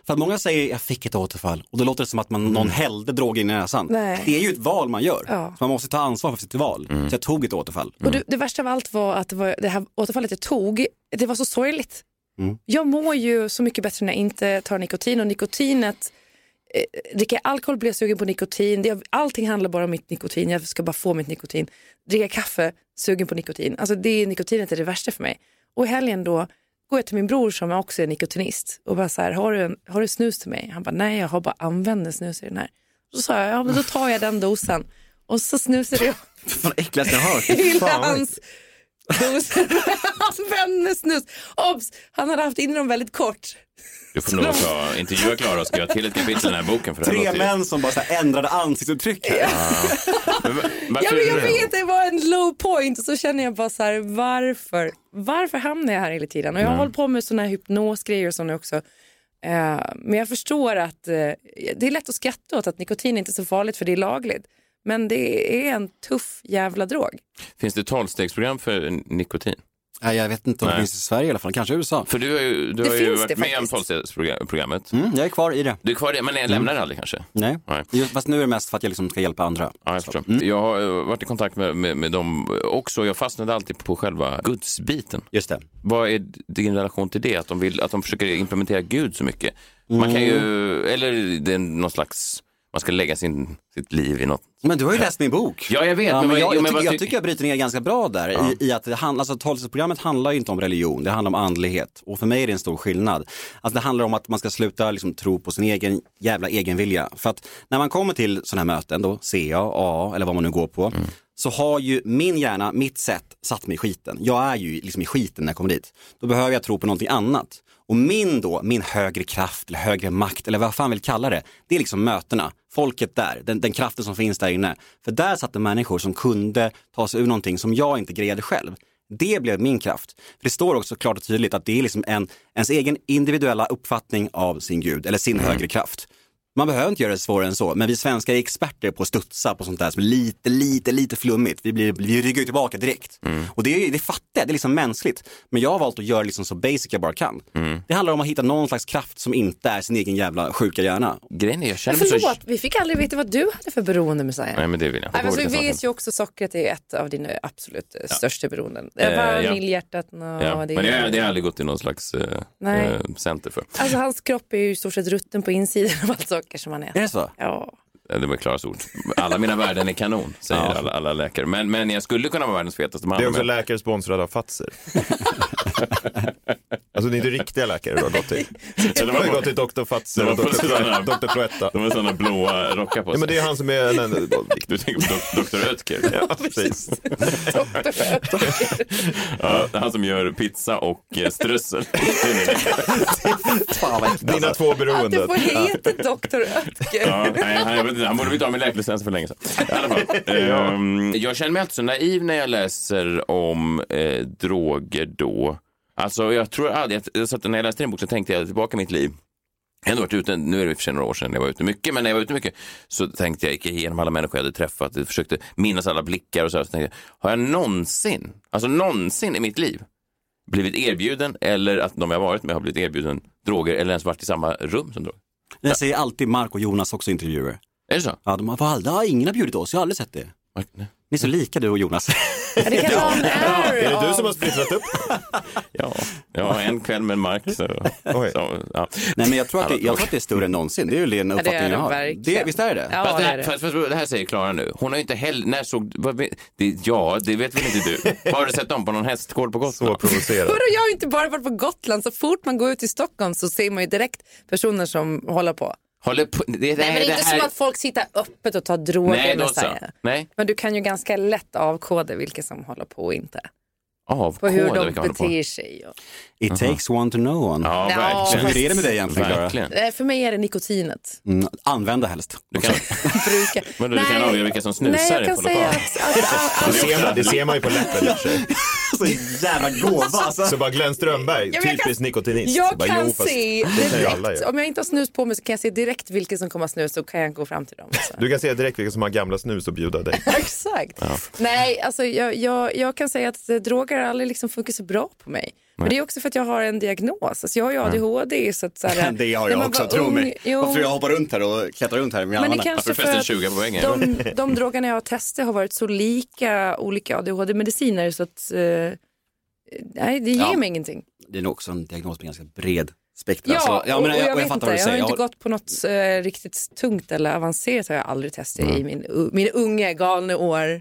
[SPEAKER 5] För att många säger jag fick ett återfall och då låter det som att man, någon hällde droger in i näsan.
[SPEAKER 3] Mm. Nej.
[SPEAKER 5] Det är ju ett val man gör.
[SPEAKER 3] Ja. Mm.
[SPEAKER 5] Så man måste ta ansvar för sitt val. Så jag tog ett återfall.
[SPEAKER 3] Och det, det värsta av allt var att det, var, det här återfallet jag tog, det var så sorgligt. Jag mår ju så mycket bättre när jag inte tar nikotin och nikotinet, eh, dricker jag alkohol blir jag sugen på nikotin, det, allting handlar bara om mitt nikotin, jag ska bara få mitt nikotin. Dricker jag kaffe, sugen på nikotin, alltså det, nikotinet är det värsta för mig. Och i helgen då går jag till min bror som också är nikotinist och bara så här, har du, en, har du snus till mig? Han bara, nej jag har bara använder snus i den här. Så sa jag, ja men då tar jag den dosan. Och så snusade jag
[SPEAKER 5] Fan äckligaste jag hört.
[SPEAKER 3] till hans dos. hans vänners snus. Obs! Han hade haft in dem väldigt kort.
[SPEAKER 2] Du får nog ta, intervjua Klara och skriva till ett kapitel i den här boken. För det här
[SPEAKER 5] Tre
[SPEAKER 2] låter ju-
[SPEAKER 5] män som bara så här ändrade ansiktsuttryck. Här.
[SPEAKER 2] Men va- varför
[SPEAKER 3] Ja, men jag
[SPEAKER 2] är det-
[SPEAKER 3] vet, det var en low point och så känner jag bara så här, varför? Varför hamnar jag här hela tiden? Och jag har hållit på med såna här hypnosgrejer och sådana också. Eh, men jag förstår att eh, det är lätt att skratta åt att nikotin är inte är så farligt för det är lagligt. Men det är en tuff jävla drog.
[SPEAKER 2] Finns det tolvstegsprogram för nikotin?
[SPEAKER 5] Nej, jag vet inte om det
[SPEAKER 2] Nej.
[SPEAKER 5] finns i Sverige i alla fall, kanske i USA.
[SPEAKER 2] För du har ju, du
[SPEAKER 3] Det
[SPEAKER 2] har ju
[SPEAKER 3] finns
[SPEAKER 2] varit
[SPEAKER 3] det
[SPEAKER 2] med om
[SPEAKER 3] faktiskt.
[SPEAKER 2] tolvstegsprogrammet.
[SPEAKER 5] Mm, jag är kvar i det.
[SPEAKER 2] Du är kvar i det, men
[SPEAKER 5] Mm.
[SPEAKER 2] jag lämnar det aldrig kanske?
[SPEAKER 5] Nej.
[SPEAKER 2] Nej.
[SPEAKER 5] Just, fast nu är det mest för att jag liksom ska hjälpa andra.
[SPEAKER 2] Ja, jag, förstår.
[SPEAKER 5] Mm.
[SPEAKER 2] jag har eh, varit i kontakt med, med, med dem också. Jag fastnade alltid på själva gudsbiten.
[SPEAKER 5] Just det.
[SPEAKER 2] Vad är din relation till det? Att de, vill, att de försöker implementera Gud så mycket? Man kan
[SPEAKER 5] Mm.
[SPEAKER 2] ju, eller det är någon slags, man ska lägga sin, sitt liv i något.
[SPEAKER 5] Men du har ju läst min bok.
[SPEAKER 2] Ja, jag vet.
[SPEAKER 5] Ja,
[SPEAKER 2] men
[SPEAKER 5] men
[SPEAKER 2] vad-
[SPEAKER 5] jag,
[SPEAKER 2] jo,
[SPEAKER 5] jag,
[SPEAKER 2] men
[SPEAKER 5] tycker,
[SPEAKER 2] vad
[SPEAKER 5] jag
[SPEAKER 2] tyck-
[SPEAKER 5] tycker jag bryter ner ganska bra där i, i att det handlar, alltså tolvstegsprogrammet handlar ju inte om religion, det handlar om andlighet och för mig är det en stor skillnad. Alltså det handlar om att man ska sluta liksom, tro på sin egen jävla egenvilja. För att när man kommer till sådana här möten då, CA, AA eller vad man nu går på,
[SPEAKER 2] Mm.
[SPEAKER 5] så har ju min hjärna, mitt sätt satt mig i skiten. Jag är ju liksom i skiten när jag kommer dit. Då behöver jag tro på någonting annat. Och min då, min högre kraft eller högre makt eller vad fan vill kalla det, det är liksom mötena, folket där, den, den kraften som finns där inne. För där satt det människor som kunde ta sig ur någonting som jag inte grejade själv. Det blev min kraft. För det står också klart och tydligt att det är liksom en, ens egen individuella uppfattning av sin gud eller sin högre kraft. Man behöver inte göra det svårare än så, men vi svenskar är experter på att studsa på sånt där som är lite, lite, lite flummigt. Vi, blir, vi ryggar ju tillbaka direkt. Och det, är- det fattar jag, det är liksom mänskligt. Men jag har valt att göra liksom så basic jag bara kan. Det handlar om att hitta någon slags kraft som inte är sin egen jävla sjuka hjärna.
[SPEAKER 2] Grejen är, jag
[SPEAKER 3] Men
[SPEAKER 2] känner mig
[SPEAKER 3] förlåt,
[SPEAKER 2] så...
[SPEAKER 3] vi fick aldrig veta vad du hade för beroende Messiah.
[SPEAKER 2] Nej, men det vill jag
[SPEAKER 3] Nej,
[SPEAKER 2] inte.
[SPEAKER 3] men så
[SPEAKER 2] Olika
[SPEAKER 3] vi vet
[SPEAKER 2] saker.
[SPEAKER 3] ju också sockret är ett av dina absolut eh, största beroenden.
[SPEAKER 2] Eh,
[SPEAKER 3] Eh, Vaniljhjärtat, ja.
[SPEAKER 2] Ja. Men det har jag det har jag aldrig gått till någon slags eh,
[SPEAKER 3] Nej.
[SPEAKER 2] eh, center för.
[SPEAKER 3] Alltså hans kropp är ju i stort sett rutten på insidan av allt socker som han
[SPEAKER 5] Är
[SPEAKER 3] äter.
[SPEAKER 5] det så?
[SPEAKER 3] Ja.
[SPEAKER 2] Eh, Det var Klaras ord. Alla mina värden är kanon, säger
[SPEAKER 5] Ja.
[SPEAKER 2] alla, alla läkare. Men, men jag skulle kunna vara världens fetaste man.
[SPEAKER 4] Det är också
[SPEAKER 2] men-
[SPEAKER 4] läkare sponsrade av Fazer. alltså det är inte riktiga läkare du har gått till. Du har ju gått till Dr. Fazer och
[SPEAKER 2] Det var på sådana-
[SPEAKER 4] Dr. Dr. Cloetta.
[SPEAKER 2] De har sådana blåa rockar på
[SPEAKER 4] Ja,
[SPEAKER 2] sig.
[SPEAKER 4] men det är han som är... Nej, nej,
[SPEAKER 2] Du tänker på dok- Dr. Oetker?
[SPEAKER 4] ja, precis.
[SPEAKER 2] Ja, det är han som gör pizza och eh, strössel. Det är det.
[SPEAKER 5] Fan, vad äckligt,
[SPEAKER 4] Dina
[SPEAKER 5] alltså.
[SPEAKER 4] två
[SPEAKER 3] Att du
[SPEAKER 4] beroenden.
[SPEAKER 3] får heta Dr. Oetker.
[SPEAKER 2] Ja, nej, han, jag vet inte, han borde blivit av med läkarlicensen för länge sedan. I alla fall, ehm, jag känner mig alltid så naiv när jag läser om eh, droger då. Alltså, jag tror aldrig, att- jag, satt- när jag läste din bok så tänkte jag tillbaka i mitt liv. Jag har ändå varit ute, nu är det i och för sig några år sedan jag var ute mycket, men när jag var ute mycket så tänkte jag, gick jag igenom alla människor jag hade träffat, jag försökte minnas alla blickar och så, här, så tänkte jag, har jag någonsin, alltså någonsin i mitt liv blivit erbjuden eller att de jag varit med har blivit erbjuden droger eller ens varit i samma rum som droger?
[SPEAKER 5] Det säger alltid Mark och Jonas också i intervjuer.
[SPEAKER 2] Är det så?
[SPEAKER 5] Ja, de har, "Vad, det har ingen har bjudit oss, jag har aldrig sett det. Ni är så lika du och Jonas.
[SPEAKER 3] Ja, det kan vara en
[SPEAKER 4] Är
[SPEAKER 3] error
[SPEAKER 4] det du
[SPEAKER 3] av-
[SPEAKER 4] som har splittrat upp?
[SPEAKER 2] Ja, ja en kväll med Mark. Så,
[SPEAKER 4] Oj.
[SPEAKER 2] så, ja.
[SPEAKER 5] Nej men jag tror, att det, jag tror att det är större än någonsin, det är ju den
[SPEAKER 3] det är
[SPEAKER 5] uppfattningen
[SPEAKER 3] det
[SPEAKER 5] jag har.
[SPEAKER 3] verkligen.
[SPEAKER 5] Det, visst är det?
[SPEAKER 3] Ja,
[SPEAKER 2] Fast det,
[SPEAKER 3] det
[SPEAKER 2] här,
[SPEAKER 3] är det.
[SPEAKER 2] Fast, fast, det här säger Klara nu. Hon har ju inte heller... När såg, vad, vet- det, ja, det vet väl inte du? Har du sett dem på någon hästgård på
[SPEAKER 4] Så
[SPEAKER 2] Gotland?
[SPEAKER 4] provocerad.
[SPEAKER 3] Vadå, jag har ju inte bara varit på Gotland. Så fort man går ut i Stockholm så ser man ju direkt personer som håller på.
[SPEAKER 2] Håller på, det, det,
[SPEAKER 3] Nej, men det är
[SPEAKER 2] det
[SPEAKER 3] inte
[SPEAKER 2] här,
[SPEAKER 3] som att folk sitter öppet och tar droger.
[SPEAKER 2] Nej, då
[SPEAKER 3] med sig.
[SPEAKER 2] så. Nej.
[SPEAKER 3] Men du kan ju ganska lätt avkoda vilka som håller på och inte. På
[SPEAKER 2] Avkodade
[SPEAKER 3] hur
[SPEAKER 2] vilka
[SPEAKER 3] de
[SPEAKER 2] man håller på.
[SPEAKER 3] beter sig. Och...
[SPEAKER 5] It takes one to know one.
[SPEAKER 2] Ja,
[SPEAKER 3] Ja,
[SPEAKER 2] verkligen.
[SPEAKER 5] Hur är det med dig egentligen Klara?
[SPEAKER 2] Verkligen.
[SPEAKER 3] Nej, Eh, För mig är det nikotinet.
[SPEAKER 5] Mm, använda helst.
[SPEAKER 2] Du kan,
[SPEAKER 3] Brukar.
[SPEAKER 2] men du kan
[SPEAKER 3] Nej.
[SPEAKER 2] avgöra vilka som snusar
[SPEAKER 3] Nej, jag kan
[SPEAKER 2] på
[SPEAKER 3] säga
[SPEAKER 2] lokalen.
[SPEAKER 3] att, att, att,
[SPEAKER 4] Det ser, man, det ser man ju på läppen i och för sig.
[SPEAKER 5] Så jävla gåva alltså.
[SPEAKER 4] Så bara Glenn Strömberg,
[SPEAKER 3] Ja, men jag
[SPEAKER 4] typiskt nikotinist. Så
[SPEAKER 3] jag
[SPEAKER 4] bara,
[SPEAKER 3] kan
[SPEAKER 4] jo, fast
[SPEAKER 3] se
[SPEAKER 4] det kan ju alla
[SPEAKER 3] direkt,
[SPEAKER 4] göra.
[SPEAKER 3] om jag inte har snus på mig så kan jag se direkt vilka som kommer att snus så kan jag gå fram till dem. och så.
[SPEAKER 4] Du kan se direkt vilka som har gamla snus och bjuda dig.
[SPEAKER 3] Exakt. Nej, alltså jag, jag, jag kan säga att eh, droger har aldrig liksom funkat så bra på mig. Men det är också för att jag har en diagnos. Alltså jag har ju ADHD. Så att, så här,
[SPEAKER 5] Det har
[SPEAKER 3] när
[SPEAKER 5] jag
[SPEAKER 3] man
[SPEAKER 5] också,
[SPEAKER 3] var
[SPEAKER 5] tro
[SPEAKER 3] ung-
[SPEAKER 5] mig.
[SPEAKER 3] Jo,
[SPEAKER 5] Varför jag hoppar runt här och klättrar runt här med
[SPEAKER 3] men det
[SPEAKER 5] armarna.
[SPEAKER 3] kanske
[SPEAKER 2] Varför
[SPEAKER 3] för
[SPEAKER 2] förresten
[SPEAKER 3] att
[SPEAKER 2] 20 poäng?
[SPEAKER 3] de, de drogerna jag har testat har varit så lika olika ADHD-mediciner så att eh, nej, det ger
[SPEAKER 5] Ja.
[SPEAKER 3] mig ingenting.
[SPEAKER 5] Det är nog också en diagnos med ganska bred Alltså, spektra.
[SPEAKER 3] Ja,
[SPEAKER 5] så,
[SPEAKER 3] och, och jag, vet
[SPEAKER 5] fattar
[SPEAKER 3] inte. Jag,
[SPEAKER 5] vad du
[SPEAKER 3] har
[SPEAKER 5] säger.
[SPEAKER 3] inte gått på något eh, riktigt tungt eller avancerat har jag aldrig testat i min, u- min unga galna år.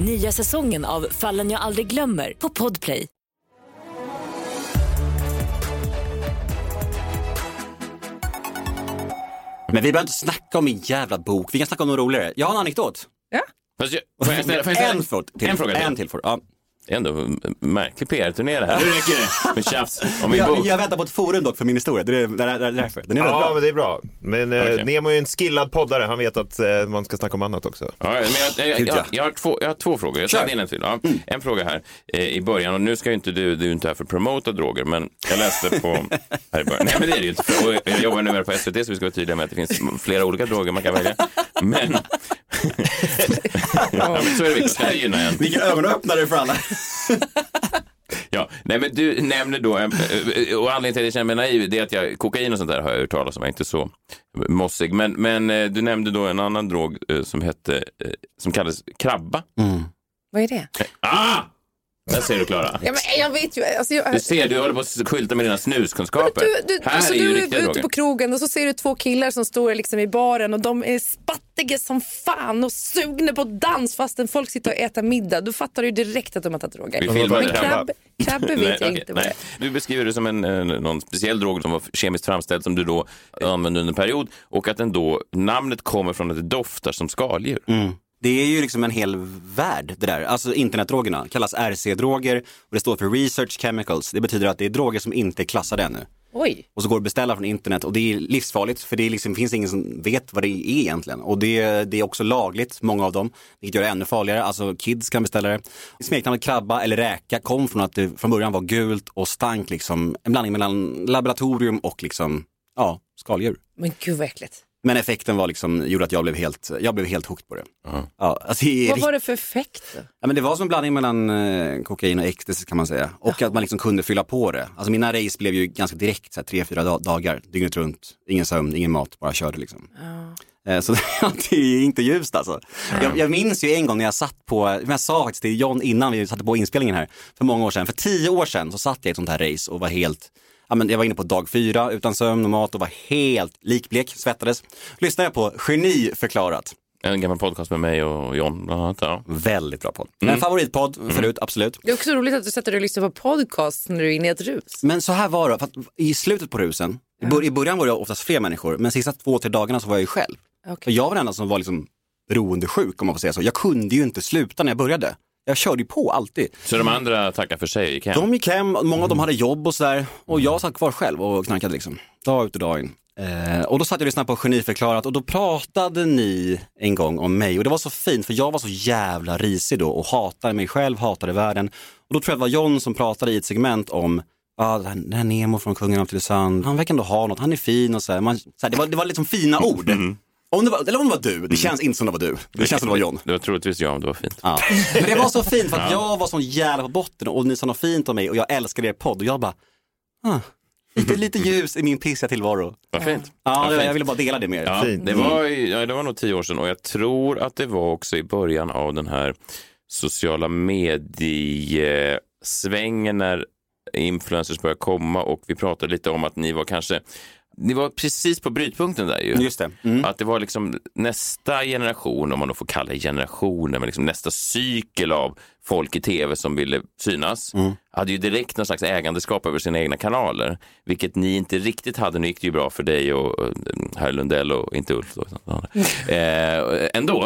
[SPEAKER 1] Nya säsongen av Fallen jag aldrig glömmer på Podplay.
[SPEAKER 5] Men vi behöver inte snacka om min jävla bok, vi kan snacka om något roligare. Jag har en anekdot.
[SPEAKER 2] Fast jag- Får jag ställa- får jag ställa-
[SPEAKER 5] en, fråga till.
[SPEAKER 2] En fråga till.
[SPEAKER 5] En till fråga. Ja.
[SPEAKER 2] Det är ändå en märklig PR-turné det här. Nu räcker det med tjafs om min
[SPEAKER 5] Jag,
[SPEAKER 2] bok.
[SPEAKER 5] jag väntar på ett forum dock för min historia, det är, det är, det är därför. Den är rätt
[SPEAKER 4] Ja,
[SPEAKER 5] bra.
[SPEAKER 4] men det är bra. Men eh,
[SPEAKER 2] Okej.
[SPEAKER 4] Nemo är en skillad poddare. Han vet att eh, man ska snacka om annat också.
[SPEAKER 2] Ja, men jag, jag, jag, jag, har två, jag har två frågor. Jag tar in en till. Ja. En fråga här eh, i början. Och nu ska ju inte du, du är ju inte här för att promota droger, men jag läste på... här i början. Nej, men det är det ju inte. För, och jag jobbar numera på SVT, så vi ska vara tydliga med att det finns flera olika droger man kan välja. Men... ja, men så är det viktigt. Det här gynnar en.
[SPEAKER 5] Vilken ögonöppnare för alla.
[SPEAKER 2] Ja, nej men du nämner då, en- eh, och anledningen till att jag känner mig naiv, det är att jag, kokain och sånt där har jag hört talas om, jag är inte så mossig. Men, men eh, du nämnde då en annan drog eh, som hette, eh, som kallades krabba.
[SPEAKER 3] Vad är det?
[SPEAKER 2] Ah! Där ser du Klara.
[SPEAKER 3] Ja, men jag vet ju, alltså jag,
[SPEAKER 2] Du ser, du håller på att skylta med dina snuskunskaper.
[SPEAKER 3] Du, du,
[SPEAKER 2] här
[SPEAKER 3] alltså,
[SPEAKER 2] är ju
[SPEAKER 3] du
[SPEAKER 2] riktiga
[SPEAKER 3] är ute
[SPEAKER 2] droger.
[SPEAKER 3] på krogen och så ser du två killar som står liksom i baren och de är spattiga som fan och sugna på dans fastän folk sitter och äter middag. Då fattar du ju direkt att de har tagit
[SPEAKER 2] Vi
[SPEAKER 3] droger.
[SPEAKER 2] filmar
[SPEAKER 3] Men
[SPEAKER 2] det här.
[SPEAKER 3] krabb, krabbe vet jag
[SPEAKER 2] okej,
[SPEAKER 3] inte vad det är.
[SPEAKER 2] Du beskriver det som en, en, någon speciell drog som var kemiskt framställd som du då använde under en period och att den då, namnet kommer från att det doftar som skaldjur.
[SPEAKER 5] Det är ju liksom en hel värld det där. Alltså internetdrogerna kallas RC-droger och det står för Research Chemicals. Det betyder att det är droger som inte är klassade ännu.
[SPEAKER 3] Oj,
[SPEAKER 5] Och så går det att beställa från internet och det är livsfarligt för det är liksom, finns ingen som vet vad det är egentligen. Och det, det är också lagligt, många av dem, vilket gör det ännu farligare. Alltså kids kan beställa det. Smeknamnet krabba eller räka kom från att det från början var gult och stank liksom, en blandning mellan laboratorium och liksom, ja, skaldjur.
[SPEAKER 3] men gud vad äckligt.
[SPEAKER 5] Men effekten var liksom, gjorde att jag blev helt, jag blev helt hooked på det. Ja, alltså det är
[SPEAKER 3] Vad var det för effekt då?
[SPEAKER 5] Ja, men det var som en blandning mellan eh, kokain och ecstasy kan man säga. Och att man liksom kunde fylla på det. Alltså mina race blev ju ganska direkt, så här, tre, fyra da- dagar, dygnet runt. Ingen sömn, ingen mat, bara körde liksom. Eh, Så det är inte ljust alltså. Jag, jag minns ju en gång när jag satt på, men jag sa faktiskt till John innan vi satte på inspelningen här, för många år sedan, för tio år sedan så satt jag i ett sånt här race och var helt, ja men jag var inne på dag fyra utan sömn och mat och var helt likblek, svettades. Lyssnade jag på Geni förklarat.
[SPEAKER 2] En gammal podcast med mig och John bland annat. Ja.
[SPEAKER 5] Väldigt bra podd. En favoritpodd förut, absolut.
[SPEAKER 3] Det är också roligt att du sätter dig och lyssnar på podcast när du är inne i ett rus.
[SPEAKER 5] Men så här var det, för att i slutet på rusen, i bör- i början var det oftast fler människor, men sista två, tre dagarna så var jag ju själv.
[SPEAKER 3] Okej.
[SPEAKER 5] Och jag var den enda som var liksom beroendesjuk om man får säga så. Jag kunde ju inte sluta när jag började. Jag körde ju på alltid.
[SPEAKER 2] Så de andra tackar för sig och gick hem? Mm.
[SPEAKER 5] De gick hem, många av dem hade jobb och sådär. Och jag satt kvar själv och knarkade liksom. Dag ut och dag in. Eh, och då satt jag och lyssnade på Geniförklarat och då pratade ni en gång om mig. Och det var så fint för jag var så jävla risig då och hatade mig själv, hatade världen. Och då tror jag det var John som pratade i ett segment om Ja, den här- den här Nemo från Kungen av Tylösand, han verkar ändå ha något, han är fin och så här. Man, så här det, var, det var liksom fina ord.
[SPEAKER 2] Mm.
[SPEAKER 5] Om det var, eller om det var du, det känns inte som det var du. Det känns som det var John.
[SPEAKER 2] Det var troligtvis jag om det var fint.
[SPEAKER 5] Ja. Men det var så fint för att jag var sån jävla på botten och ni sa något fint om mig och jag älskade er podd och jag bara, ah, lite, lite ljus i min pissiga tillvaro.
[SPEAKER 2] Vad fint.
[SPEAKER 5] Ja,
[SPEAKER 2] fint.
[SPEAKER 5] jag ville bara dela det med er.
[SPEAKER 2] Ja,
[SPEAKER 4] Fint.
[SPEAKER 2] det, var, i- ja, det var nog tio år sedan och jag tror att det var också i början av den här sociala mediesvängen när influencers började komma och vi pratade lite om att ni var kanske, ni var precis på brytpunkten där ju.
[SPEAKER 5] Just det. Mm.
[SPEAKER 2] Att det var liksom nästa generation, om man då får kalla det generationer, men liksom nästa cykel av folk i tv som ville synas,
[SPEAKER 5] Mm.
[SPEAKER 2] hade ju direkt någon slags ägandeskap över sina egna kanaler, vilket ni inte riktigt hade. Nu gick det ju bra för dig och och, mm, herr Lundell och inte Ulf då, utan den
[SPEAKER 5] Mm.
[SPEAKER 2] andra. eh, ändå.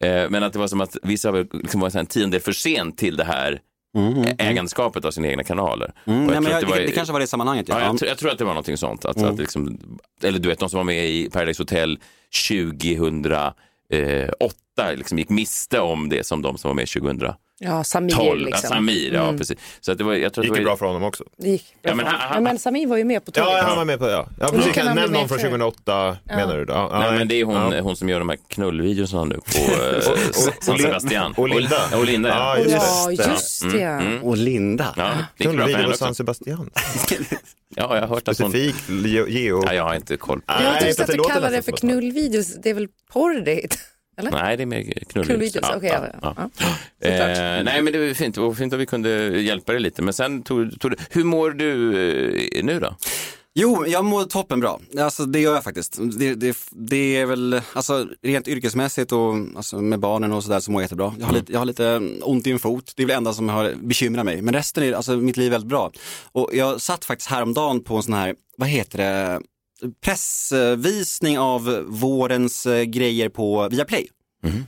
[SPEAKER 2] Eh, men att det var som att vissa var- liksom var så här en tiondel för sent till det här eh, ägandeskapet av sina egna kanaler.
[SPEAKER 5] Mm,
[SPEAKER 2] Och
[SPEAKER 5] nej, men
[SPEAKER 2] tror
[SPEAKER 5] jag,
[SPEAKER 2] att
[SPEAKER 5] det,
[SPEAKER 2] var-
[SPEAKER 5] det kanske var det sammanhanget.
[SPEAKER 2] Ja,
[SPEAKER 5] Ja.
[SPEAKER 2] jag, tr- jag tror att det var någonting sånt. Att,
[SPEAKER 4] Mm.
[SPEAKER 2] att liksom, eller du vet, de som var med i Paradise Hotel 2008 liksom, gick miste om det som de som var med 2012.
[SPEAKER 3] Ja, Samir
[SPEAKER 2] Ja,
[SPEAKER 3] liksom.
[SPEAKER 2] Samir, ja precis. Så att det var, jag tror att
[SPEAKER 4] Gick
[SPEAKER 2] det
[SPEAKER 4] det
[SPEAKER 2] var,
[SPEAKER 4] bra för honom också?
[SPEAKER 3] Det gick bra.
[SPEAKER 2] Ja, men
[SPEAKER 3] för honom.
[SPEAKER 2] han-
[SPEAKER 3] ja, men Samir var ju med på tåget.
[SPEAKER 4] Ja, han var med på det. Ja. Ja,
[SPEAKER 3] Men då
[SPEAKER 4] precis.
[SPEAKER 3] kan han
[SPEAKER 4] Nämn
[SPEAKER 3] bli
[SPEAKER 4] någon från
[SPEAKER 3] med för-
[SPEAKER 4] 2008 menar du? då? Ja,
[SPEAKER 2] Nej,
[SPEAKER 4] nej.
[SPEAKER 2] men det är hon,
[SPEAKER 4] Ja.
[SPEAKER 2] hon som gör de här knullvideorna nu på eh, San
[SPEAKER 4] och Lin-
[SPEAKER 2] Sebastian.
[SPEAKER 4] och Linda.
[SPEAKER 2] Och, och Linda, ja.
[SPEAKER 4] Ja, just
[SPEAKER 3] Ja,
[SPEAKER 4] det.
[SPEAKER 3] just det.
[SPEAKER 5] Och Linda.
[SPEAKER 2] ja det gick bra för
[SPEAKER 4] Knullvideo
[SPEAKER 2] henne
[SPEAKER 4] på
[SPEAKER 2] också.
[SPEAKER 4] San Sebastian.
[SPEAKER 2] Ja, jag har hört att hon...
[SPEAKER 4] Specifikt ge- geo.
[SPEAKER 2] Ja, jag har inte koll. på-
[SPEAKER 4] Nej,
[SPEAKER 3] Jag tyckte
[SPEAKER 4] för
[SPEAKER 3] att
[SPEAKER 4] det
[SPEAKER 3] du
[SPEAKER 4] låter
[SPEAKER 3] kallar det
[SPEAKER 4] nästan
[SPEAKER 3] för
[SPEAKER 4] så.
[SPEAKER 3] knullideos, det är väl porrigt?
[SPEAKER 2] Nej, det är mer knullvideos.
[SPEAKER 3] Knullideos, okej. ja, ja, ja.
[SPEAKER 2] Eh,
[SPEAKER 3] Såklart.
[SPEAKER 2] nej men det var fint, det var fint att vi kunde hjälpa dig lite. Men sen tog, tog du, hur mår du eh, nu då?
[SPEAKER 5] Jo, jag mår toppen bra. Alltså det gör jag faktiskt. Det, det, det är väl, alltså rent yrkesmässigt och alltså, med barnen och sådär så mår jag jättebra. Jag har,
[SPEAKER 2] Mm.
[SPEAKER 5] lite, jag har lite mm, ont i en fot, det är väl det enda som har bekymrat mig. Men resten är, alltså mitt liv är väldigt bra. Och jag satt faktiskt häromdagen på en sån här, vad heter det, pressvisning av vårens eh, grejer på Viaplay.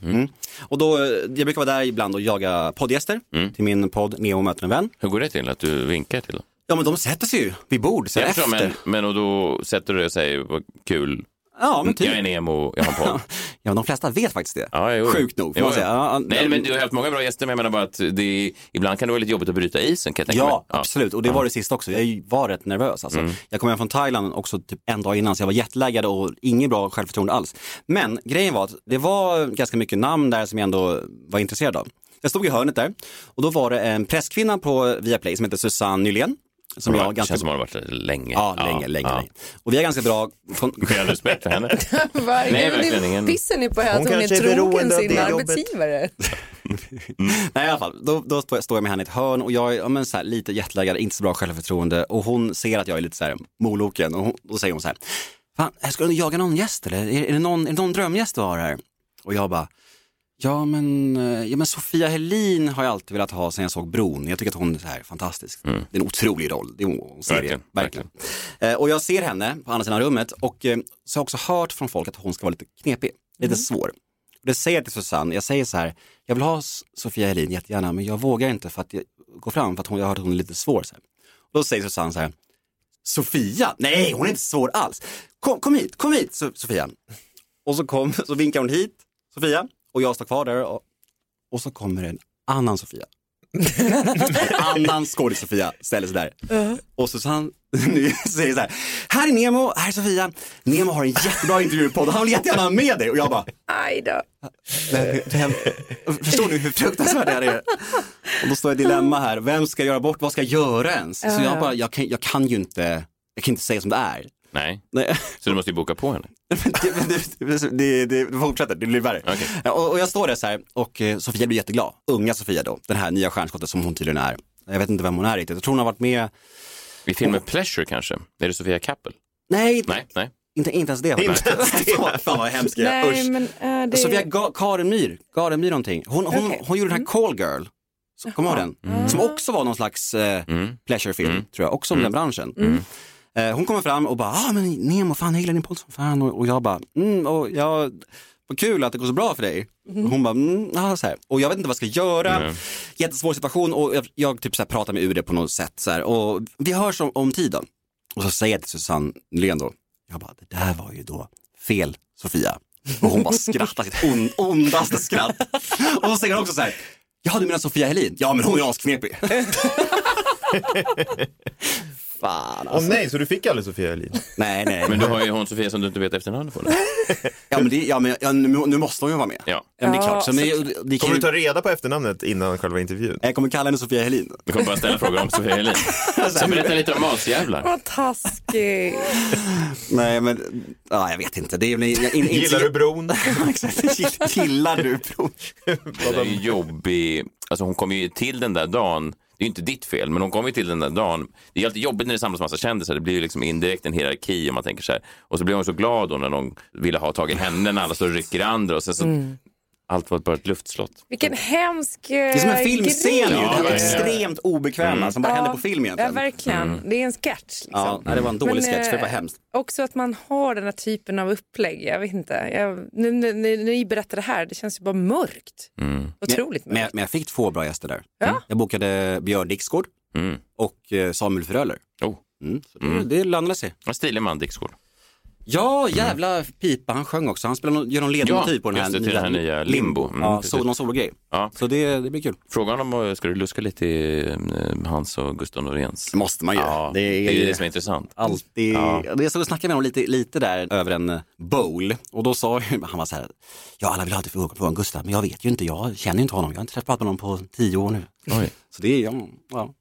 [SPEAKER 5] Mm. Och då, eh, jag brukar vara där ibland och jaga poddgäster
[SPEAKER 2] Mm.
[SPEAKER 5] till min podd Neo möter en vän.
[SPEAKER 2] Hur går det till att du vinkar till dem?
[SPEAKER 5] Ja men de sätter sig ju vid bord sen
[SPEAKER 2] Jag
[SPEAKER 5] efter.
[SPEAKER 2] förstår, men, men och då sätter du dig och säger vad kul,
[SPEAKER 5] Ja men typ.
[SPEAKER 2] jag är Nemo, jag har en podd.
[SPEAKER 5] Ja, de flesta vet faktiskt det.
[SPEAKER 2] Ja, jo.
[SPEAKER 5] Sjukt nog, får
[SPEAKER 2] Jo,
[SPEAKER 5] man säga. Ja, ja.
[SPEAKER 2] Nej men du har haft många bra gäster men jag menar bara att det är, ibland kan det vara lite jobbigt att bryta isen kan jag tänka mig.
[SPEAKER 5] Ja, absolut. Och det var det sista också. Jag var rätt nervös. Alltså.
[SPEAKER 2] Mm.
[SPEAKER 5] Jag kom hem från Thailand också typ en dag innan, så jag var jetlaggad och inget bra självförtroende alls. Men grejen var att det var ganska mycket namn där som jag ändå var intresserad av. Jag stod i hörnet där och då var det en presskvinna på Viaplay som heter Susanne Nylén. Som
[SPEAKER 2] Ja,
[SPEAKER 5] jag
[SPEAKER 2] det
[SPEAKER 5] ganska...
[SPEAKER 2] känns som att det har varit där länge.
[SPEAKER 5] Ja, länge, länge, länge. Och vi har ganska bra... kon-
[SPEAKER 2] Med all respekt för henne.
[SPEAKER 3] Verkligen.
[SPEAKER 2] Nej,
[SPEAKER 3] Men det-
[SPEAKER 2] verkligen ingen.
[SPEAKER 3] Pissen är på att
[SPEAKER 4] Hon
[SPEAKER 3] hon, hon är
[SPEAKER 4] kanske är beroende
[SPEAKER 3] trogen
[SPEAKER 4] av
[SPEAKER 3] sin
[SPEAKER 4] det jobbet.
[SPEAKER 3] arbetsgivare.
[SPEAKER 5] Nej, i alla fall. Då, då står jag- står jag med henne i ett hörn och jag är ja, men så här, lite jetlaggad, inte så bra självförtroende och hon ser att jag är lite så här moloken och hon, då säger hon så här, Fan, ska du jaga någon gäst eller? Är, är, det någon, är det någon drömgäst du har här? Och jag bara, ja men, eh, ja men Sofia Helin har jag alltid velat ha sen jag såg Bron. Jag tycker att hon är så här fantastisk. Det är en otrolig roll, det är hon, hon ser
[SPEAKER 2] Verkligen,
[SPEAKER 5] det, verkligen. Eh, och jag ser henne på andra sidan rummet och eh, så har jag också hört från folk att hon ska vara lite knepig, lite svår. Det säger jag till Susanne, jag säger så här, jag vill ha S- Sofia Helin jättegärna men jag vågar inte för att jag, gå fram för att hon, jag har hört att hon är lite svår. Så här. Och då säger Susanne så här, Sofia, nej hon är inte svår alls. Kom, kom hit, kom hit So- Sofia. Och så, kom, så vinkar hon hit, Sofia, och jag står kvar där och, och så kommer en annan Sofia. en annan skådis-Sofia ställer sig där. Och Susanne nu säger så här, här är Nemo, här är Sofia, Nemo har en jättebra intervjupodd, han vill jättegärna ha med dig. Och jag bara,
[SPEAKER 3] Aj då.
[SPEAKER 5] vem, vem, förstår ni hur fruktansvärt det här är? Och då står jag i dilemma här, vem ska jag göra bort, vad ska jag göra ens? Så jag bara, jag kan, jag kan ju inte, jag kan inte säga som det är.
[SPEAKER 2] Nej,
[SPEAKER 5] Nej.
[SPEAKER 2] så du måste ju boka på henne.
[SPEAKER 5] det, det, det, det fortsätter, det blir värre. Och, och jag står där så här och eh, Sofia blir jätteglad. Unga Sofia då, den här nya stjärnskottet som hon tydligen är. Jag vet inte vem hon är riktigt. Jag tror hon har varit med,
[SPEAKER 2] I
[SPEAKER 5] Oh.
[SPEAKER 2] filmen Pleasure kanske? Är det Sofia Kappel?
[SPEAKER 5] nej,
[SPEAKER 2] Nej, nej.
[SPEAKER 5] Inte, inte ens det. Inte Fan vad hemskt.
[SPEAKER 3] Nej, men äh, det...
[SPEAKER 5] Sofia Alltså, Ga- Karin Myhr, Karin Myhr någonting. Hon, hon,
[SPEAKER 3] Okej. Mm. Ah.
[SPEAKER 5] hon gjorde den här Call Girl, Så- kommer du ihåg den? Som också var någon slags eh, pleasurefilm, tror jag, också om den branschen. Eh, hon kommer fram "Mm, och bara, ah men Nemo, fan jag gillar din podd som fan. Och, och jag bara, mm, och jag vad kul att det går så bra för dig. Och hon bara, mm, ah, så här. Och jag vet inte vad jag ska göra. Jättesvår situation och jag, jag typ så här pratar med UD på något sätt så här. Och vi hörs om, om tiden. Och så säger jag till Susanne Nylén då, jag bara, det där var ju då fel Sofia. Och hon bara skrattar sitt on, ondaste skratt. Och så säger hon också så här, ja du menar Sofia Helin? Ja men hon är asknepig. Fan.
[SPEAKER 4] Åh nej, så du fick aldrig Sofia Elin?
[SPEAKER 5] Nej, nej.
[SPEAKER 2] Men du har ju hon Sofia som du inte vet efternamnet på. nu.
[SPEAKER 5] Ja, men det, ja, men, ja, nu, nu måste hon ju vara med.
[SPEAKER 2] Ja.
[SPEAKER 5] men det är klart. Så, men, jag- det kan
[SPEAKER 4] Kommer du
[SPEAKER 5] ju,
[SPEAKER 4] ta reda på efternamnet innan själva intervjun?
[SPEAKER 5] jag kommer kalla henne Sofia Helin.
[SPEAKER 2] Du kommer bara ställa frågor om Sofia Helin. Sen berätta lite om asjävlar.
[SPEAKER 3] Vad taskigt.
[SPEAKER 5] Nej, men ja, jag vet inte. Det är, väl- jag, in,
[SPEAKER 4] Gillar du bron?
[SPEAKER 5] Exakt. Gillar du prov?
[SPEAKER 2] Det är ju jobbig. Alltså hon kom ju till den där dagen. Det är ju inte ditt fel, men hon kom ju till den där dagen. Det är ju alltid jobbigt när det samlas massa kändisar. Det blir ju liksom indirekt en hierarki om man tänker så här. Och så blev hon så glad då när någon ville ha tag i henne när alla står och rycker i andra och sen så allt var bara ett luftslott.
[SPEAKER 3] Vilken hemsk eh,
[SPEAKER 5] Det är som en filmscen ju. Det
[SPEAKER 2] Ja,
[SPEAKER 5] här var
[SPEAKER 2] verkligen.
[SPEAKER 5] extremt obekväma som bara händer på film
[SPEAKER 3] Ja,
[SPEAKER 5] egentligen.
[SPEAKER 3] verkligen. Det är en sketch. Liksom.
[SPEAKER 5] Ja, nej, det var en dålig
[SPEAKER 3] Men,
[SPEAKER 5] sketch för det var
[SPEAKER 3] eh,
[SPEAKER 5] hemskt.
[SPEAKER 3] Också att man har den här typen av upplägg. Jag vet inte. Jag, nu, nu, nu, när ni berättar det här, det känns ju bara mörkt. Otroligt
[SPEAKER 5] Men, jag-
[SPEAKER 3] mörkt.
[SPEAKER 5] men jag fick två bra gäster där. Mm. Jag bokade Björn Dixgård
[SPEAKER 2] Mm.
[SPEAKER 5] och eh, Samuel Fröler.
[SPEAKER 2] Oh.
[SPEAKER 5] Mm. Så det- Det landade sig. Mm.
[SPEAKER 2] En stilig man, Dick Skård.
[SPEAKER 5] Ja, jävla pipa han sjöng också. Han spelar någon, gör någon ledmotiv
[SPEAKER 2] Ja,
[SPEAKER 5] på den här,
[SPEAKER 2] just det, till det här nya Limbo. Mm,
[SPEAKER 5] ja,
[SPEAKER 2] precis.
[SPEAKER 5] så, någon sologrej.
[SPEAKER 2] Ja.
[SPEAKER 5] Så det, det blir kul.
[SPEAKER 2] Frågan om, eh, ska du luska lite i eh, hans och Gustav Noréns?
[SPEAKER 5] Det måste man ju.
[SPEAKER 2] Ja, det är ju liksom- det som är intressant.
[SPEAKER 5] alltid... Jag stod och snackade med honom lite, lite där över en eh, bowl och då sa ju- han var så här, ja alla vill ha det för frågan Gustav, men jag vet ju inte, jag känner ju inte honom, jag har inte pratat med honom på tio år nu.
[SPEAKER 2] Oj,
[SPEAKER 5] Så det är, ja, ja.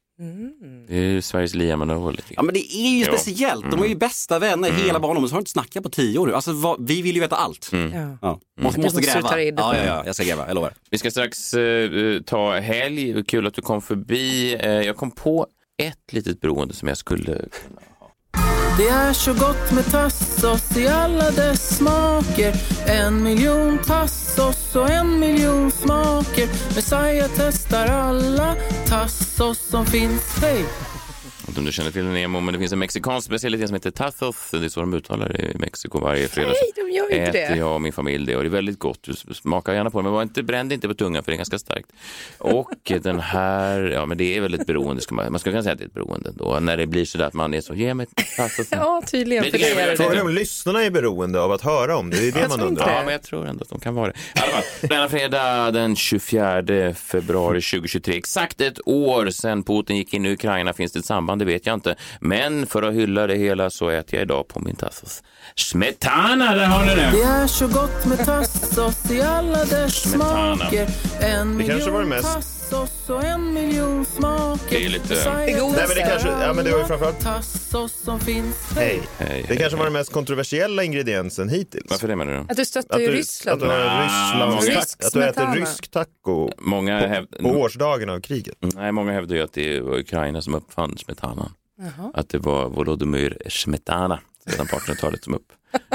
[SPEAKER 2] det är ju Sveriges Liam Manowar lite
[SPEAKER 5] ja men det är ju
[SPEAKER 2] Ja. Mm.
[SPEAKER 5] speciellt, de är ju bästa vänner hela barndomen, så har de inte snackat på tio år nu. Alltså vad, vi vill ju veta allt.
[SPEAKER 2] Mm.
[SPEAKER 3] Ja.
[SPEAKER 5] Ja. Måste, måste
[SPEAKER 3] måste du ta
[SPEAKER 5] gräva.
[SPEAKER 3] reda på.
[SPEAKER 5] Ja, ja, ja, jag ska gräva, jag lovar.
[SPEAKER 2] Vi ska strax eh, ta helg. Kul att du kom förbi. Eh, jag kom på ett litet beroende som jag skulle...
[SPEAKER 6] Det är så gott med tassos i alla dess smaker En miljon tassos och en miljon smaker Messiah testar alla tassos som finns Hej!
[SPEAKER 2] Jag vet inte om du känner till Nemo, men det finns en mexikansk specialitet som heter tacos. Det är så de uttalar det i Mexiko varje fredag.
[SPEAKER 3] Nej, de gör ju inte
[SPEAKER 2] äter
[SPEAKER 3] det.
[SPEAKER 2] jag och min familj det och det är väldigt gott. Du smakar gärna på det, men var inte, bränn det inte på tungan för det är ganska starkt. Och den här, ja men det är väl ett beroende, ska man, man skulle kunna säga att det är ett beroende då. När det blir så där att man är så, ge mig tacos. nu.
[SPEAKER 3] Ja, tydligen.
[SPEAKER 2] Men
[SPEAKER 3] För
[SPEAKER 2] det
[SPEAKER 3] det
[SPEAKER 2] kan jag
[SPEAKER 3] är
[SPEAKER 2] väl göra.
[SPEAKER 3] det.
[SPEAKER 4] Frågan är om lyssnarna är beroende av att höra om det, det är det man
[SPEAKER 3] tror inte
[SPEAKER 4] undrar.
[SPEAKER 2] Ja, men jag tror ändå att de kan vara det. I alla fall, denna fredag den 24 februari 2023, exakt ett år sedan Putin gick in i Ukraina, finns det ett samband? Det vet jag inte. Men för att hylla det hela så äter jag idag på min tassos smetana, där har ni det!
[SPEAKER 6] Det är så gott med tassos i alla dess
[SPEAKER 2] Smetana.
[SPEAKER 6] smaker En
[SPEAKER 4] Det kanske var det
[SPEAKER 6] miljon
[SPEAKER 4] mest-
[SPEAKER 6] tassos och en miljon smaker
[SPEAKER 2] Det är lite-
[SPEAKER 6] Messiah
[SPEAKER 3] Det godaste.
[SPEAKER 4] Nej, men det kanske- ja, men det var ju
[SPEAKER 6] testar alla
[SPEAKER 4] framförallt-
[SPEAKER 6] Tassos som finns
[SPEAKER 4] Hej.
[SPEAKER 2] Hej,
[SPEAKER 4] Det
[SPEAKER 2] hej,
[SPEAKER 4] kanske var den mest kontroversiella ingrediensen hittills.
[SPEAKER 2] Varför det menar du?
[SPEAKER 3] Att du stöttar
[SPEAKER 4] Att
[SPEAKER 3] ju
[SPEAKER 4] du,
[SPEAKER 3] Ryssland.
[SPEAKER 4] Att du, har Rysslands
[SPEAKER 2] många-
[SPEAKER 4] tack- att du äter
[SPEAKER 3] Smetana.
[SPEAKER 4] rysk taco
[SPEAKER 2] Många, häv...
[SPEAKER 4] på årsdagen av kriget.
[SPEAKER 2] Nej, många hävdar ju att det var Ukraina som uppfann smetanan. Att det var Volodymyr Smetana sedan 1800-talet som upp,